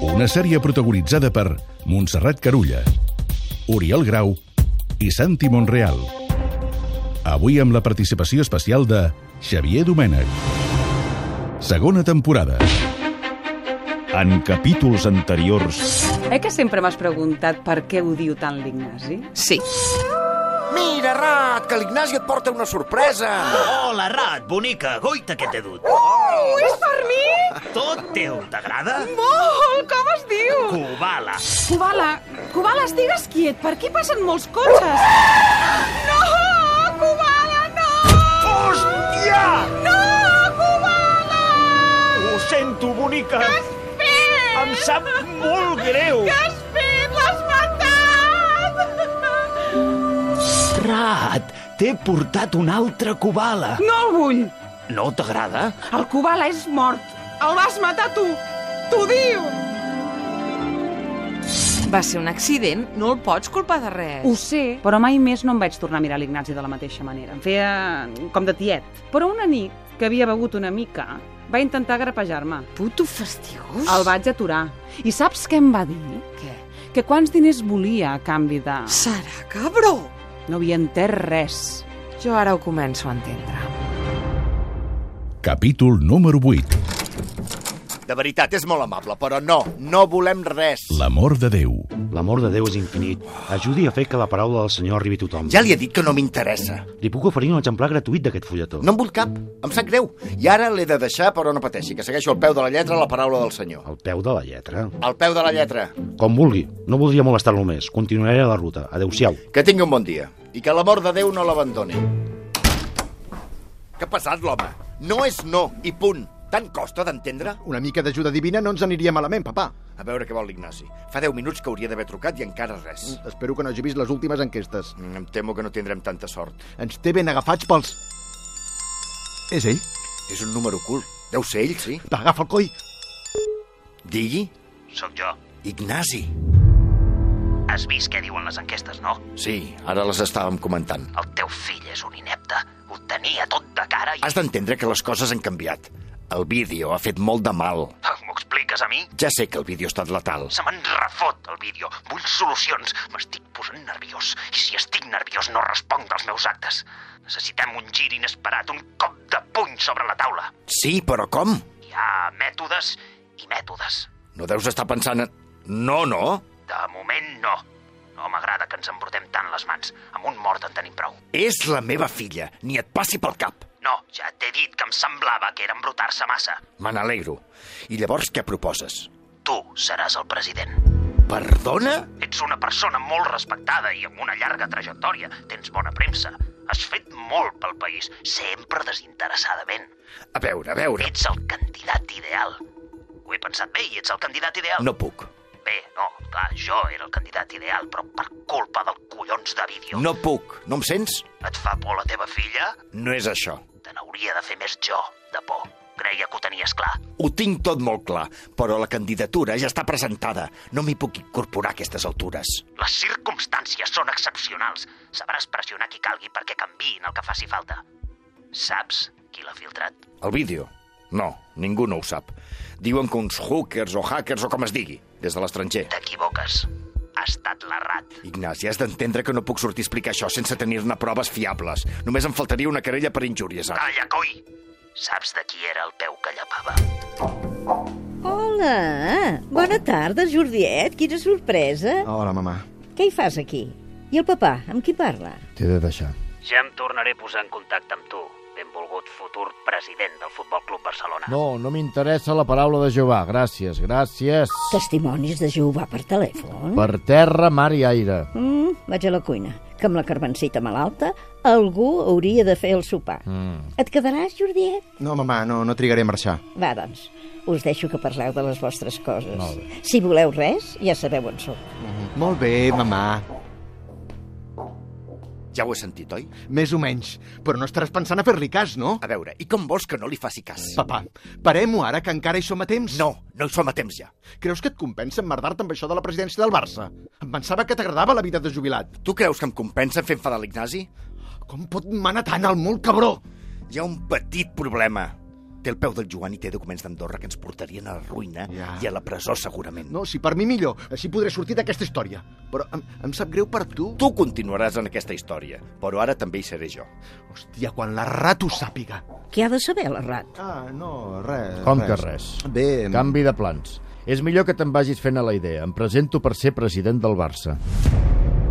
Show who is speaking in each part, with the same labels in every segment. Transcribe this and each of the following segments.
Speaker 1: Una sèrie protagonitzada per Montserrat Carulla, Oriol Grau i Santi Monreal. Avui amb la participació especial de Xavier Domènech. Segona temporada.
Speaker 2: En capítols anteriors...
Speaker 3: Eh que sempre m'has preguntat per què ho diu tant l'Ignasi?
Speaker 4: Sí.
Speaker 5: Mira, Rat, que l'Ignasi et porta una sorpresa.
Speaker 6: Hola, Rat, bonica, goita que t'he dut.
Speaker 3: Oh, és per mi?
Speaker 6: Tot teu, t'agrada?
Speaker 3: Molt! Com es diu?
Speaker 6: Cubala.
Speaker 3: Kubala, Kubala, estigues quiet. Per aquí passen molts cotxes. No, Kubala, no!
Speaker 6: Hòstia!
Speaker 3: No, Kubala!
Speaker 6: Ho sento, bonica.
Speaker 3: Fet!
Speaker 6: Em sap molt greu.
Speaker 3: Que has fet? L'has matat!
Speaker 6: Rat, t'he portat una altra cubala.
Speaker 3: No el vull.
Speaker 6: No t'agrada?
Speaker 3: El Kubala és mort. El vas matar tu. T'ho diu.
Speaker 4: Va ser un accident, no el pots culpar de res.
Speaker 3: Ho sé, però mai més no em vaig tornar a mirar l'Ignasi de la mateixa manera. Em feia mm, com de tiet. Però una nit, que havia begut una mica, va intentar grapejar-me.
Speaker 4: puto fastigós.
Speaker 3: El vaig aturar. I saps què em va dir?
Speaker 4: Què?
Speaker 3: Que quants diners volia a canvi de...
Speaker 4: Serà cabró.
Speaker 3: No havia entès res.
Speaker 4: Jo ara ho començo a entendre.
Speaker 1: Capítol número 8.
Speaker 5: De veritat, és molt amable, però no, no volem res.
Speaker 1: L'amor de Déu.
Speaker 7: L'amor de Déu és infinit. Ajudi a fer que la paraula del Senyor arribi a tothom.
Speaker 5: Ja li he dit que no m'interessa.
Speaker 7: Li puc oferir un exemplar gratuït d'aquest fulletó.
Speaker 5: No en vull cap, em sap greu. I ara l'he de deixar, però no pateixi, que segueixo al peu de la lletra la paraula del senyor.
Speaker 7: Al peu de la lletra.
Speaker 5: Al peu de la lletra.
Speaker 7: Com vulgui. No voldria molestar-lo més. Continuaré a la ruta. Adéu-siau.
Speaker 5: Que tingui un bon dia. I que l'amor de Déu no l'abandoni. Què ha passat, l'home? No és no, i punt. Tant costa d'entendre?
Speaker 8: Una mica d'ajuda divina no ens aniria malament, papà.
Speaker 5: A veure què vol l'Ignasi. Fa 10 minuts que hauria d'haver trucat i encara res.
Speaker 8: Espero que no hagi vist les últimes enquestes.
Speaker 5: Mm, Em temo que no tindrem tanta sort.
Speaker 8: Ens té ben agafats pels... És ell?
Speaker 5: És un número ocult. Deu ser ell, sí?
Speaker 8: Va, agafa el coll.
Speaker 5: Digui,
Speaker 9: Sóc jo.
Speaker 5: Ignasi.
Speaker 9: Has vist què diuen les enquestes, no?
Speaker 5: Sí, ara les estàvem comentant.
Speaker 9: El teu fill és un inepte. Ho tenia tot de cara i...
Speaker 5: Has d'entendre que les coses han canviat. El vídeo ha fet molt de mal.
Speaker 9: M'ho expliques a mi?
Speaker 5: Ja sé que el vídeo ha estat letal.
Speaker 9: Se me'n refot, el vídeo. Vull solucions. M'estic posant nerviós. I si estic nerviós no responc dels meus actes. Necessitem un gir inesperat, un cop de puny sobre la taula.
Speaker 5: Sí, però com?
Speaker 9: Hi ha mètodes i mètodes.
Speaker 5: No deus estar pensant en... No, no.
Speaker 9: De moment, no. No m'agrada que ens embrutem tant les mans. Amb un mort en tenim prou.
Speaker 5: És la meva filla. Ni et passi pel cap.
Speaker 9: No, ja t'he dit que em semblava que era embrutar-se massa.
Speaker 5: Me n'alegro. I llavors què proposes?
Speaker 9: Tu seràs el president.
Speaker 5: Perdona?
Speaker 9: Ets una persona molt respectada i amb una llarga trajectòria. Tens bona premsa. Has fet molt pel país, sempre desinteressadament.
Speaker 5: A veure, a veure.
Speaker 9: Ets el candidat ideal. Ho he pensat bé i ets el candidat ideal.
Speaker 5: No puc.
Speaker 9: Bé, no, clar, jo era el candidat ideal, però per culpa del collons de vídeo.
Speaker 5: No puc. No em sents?
Speaker 9: Et fa por la teva filla?
Speaker 5: No és això.
Speaker 9: Te n'hauria de fer més jo, de por. Creia que ho tenies clar.
Speaker 5: Ho tinc tot molt clar, però la candidatura ja està presentada. No m'hi puc incorporar a aquestes altures.
Speaker 9: Les circumstàncies són excepcionals. Sabràs pressionar qui calgui perquè canviïn el que faci falta. Saps qui l'ha filtrat?
Speaker 5: El vídeo? No, ningú no ho sap. Diuen que uns hookers o hackers o com es digui, des de l'estranger.
Speaker 9: T'equivoques. Ha estat l'errat.
Speaker 5: Ignasi, has d'entendre que no puc sortir a explicar això sense tenir-ne proves fiables. Només em faltaria una querella per injúries, ara.
Speaker 9: Calla, coi! Saps de qui era el peu que llapava?
Speaker 10: Hola! Ah, Bona tarda, Jordiet. Quina sorpresa.
Speaker 8: Hola, mamà.
Speaker 10: Què hi fas aquí? I el papà, amb qui parla?
Speaker 8: T'he de deixar.
Speaker 9: Ja em tornaré a posar en contacte amb tu, benvolgut futur president del Futbol Club Barcelona.
Speaker 11: No, no m'interessa la paraula de Jehovà. Gràcies, gràcies.
Speaker 10: Testimonis de Jehovà per telèfon?
Speaker 11: Per terra, mar i aire.
Speaker 10: Mm, vaig a la cuina. que amb la carbancita malalta algú hauria de fer el sopar.
Speaker 12: Mm.
Speaker 10: Et quedaràs, Jordiet?
Speaker 12: No, mamà, no, no trigaré a marxar.
Speaker 10: Va, doncs, us deixo que parleu de les vostres coses.
Speaker 12: Molt bé.
Speaker 10: Si voleu res, ja sabeu on sóc.
Speaker 12: Molt bé, mamà.
Speaker 5: Ja ho he sentit, oi?
Speaker 12: Més o menys. Però no estaràs pensant a fer-li cas, no?
Speaker 5: A veure, i com vols que no li faci cas?
Speaker 12: Papà, parem-ho ara, que encara hi som a temps.
Speaker 5: No, no hi som a temps ja.
Speaker 12: Creus que et compensa emmerdar-te amb això de la presidència del Barça? Em pensava que t'agradava la vida de jubilat.
Speaker 5: Tu creus que em compensa fent enfadar l'Ignasi?
Speaker 12: Com pot manar tant el molt, cabró?
Speaker 5: Hi ha un petit problema. Té el peu del Joan i té documents d'Andorra que ens portarien a la ruïna ja. i a la presó, segurament.
Speaker 12: No, si per mi millor. Així podré sortir d'aquesta història. Però em, em sap greu per tu.
Speaker 5: Tu continuaràs en aquesta història, però ara també hi seré jo.
Speaker 12: Hòstia, quan la rat ho sàpiga.
Speaker 10: Què ha de saber la rat?
Speaker 12: Ah, no, res.
Speaker 11: Com que res?
Speaker 12: Bé...
Speaker 11: Canvi de plans. És millor que te'n vagis fent a la idea. Em presento per ser president del Barça.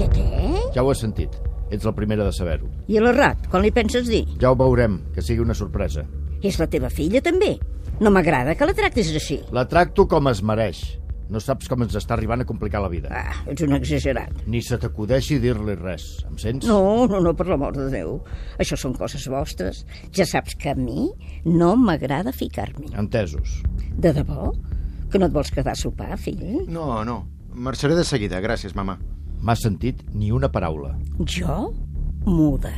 Speaker 10: Què, què?
Speaker 11: Ja ho has sentit. Ets la primera de saber-ho.
Speaker 10: I a la rat, quan li penses dir?
Speaker 11: Ja ho veurem, que sigui una sorpresa.
Speaker 10: És la teva filla, també. No m'agrada que la tractis així.
Speaker 11: La tracto com es mereix. No saps com ens està arribant a complicar la vida.
Speaker 10: Ah, ets un exagerat.
Speaker 11: Ni se t'acudeixi dir-li res. Em sents?
Speaker 10: No, no, no, per l'amor de Déu. Això són coses vostres. Ja saps que a mi no m'agrada ficar-m'hi.
Speaker 11: Entesos.
Speaker 10: De debò? Que no et vols quedar a sopar, fill?
Speaker 12: No, no. Marxaré de seguida, gràcies, mamà.
Speaker 11: M'has sentit ni una paraula.
Speaker 10: Jo? Muda.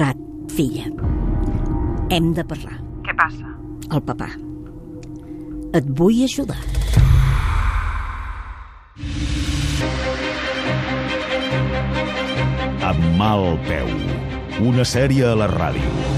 Speaker 10: Rat, filla. Hem de parlar.
Speaker 3: Què passa?
Speaker 10: El papà. Et vull ajudar.
Speaker 2: Amb mal peu. Una sèrie a la ràdio.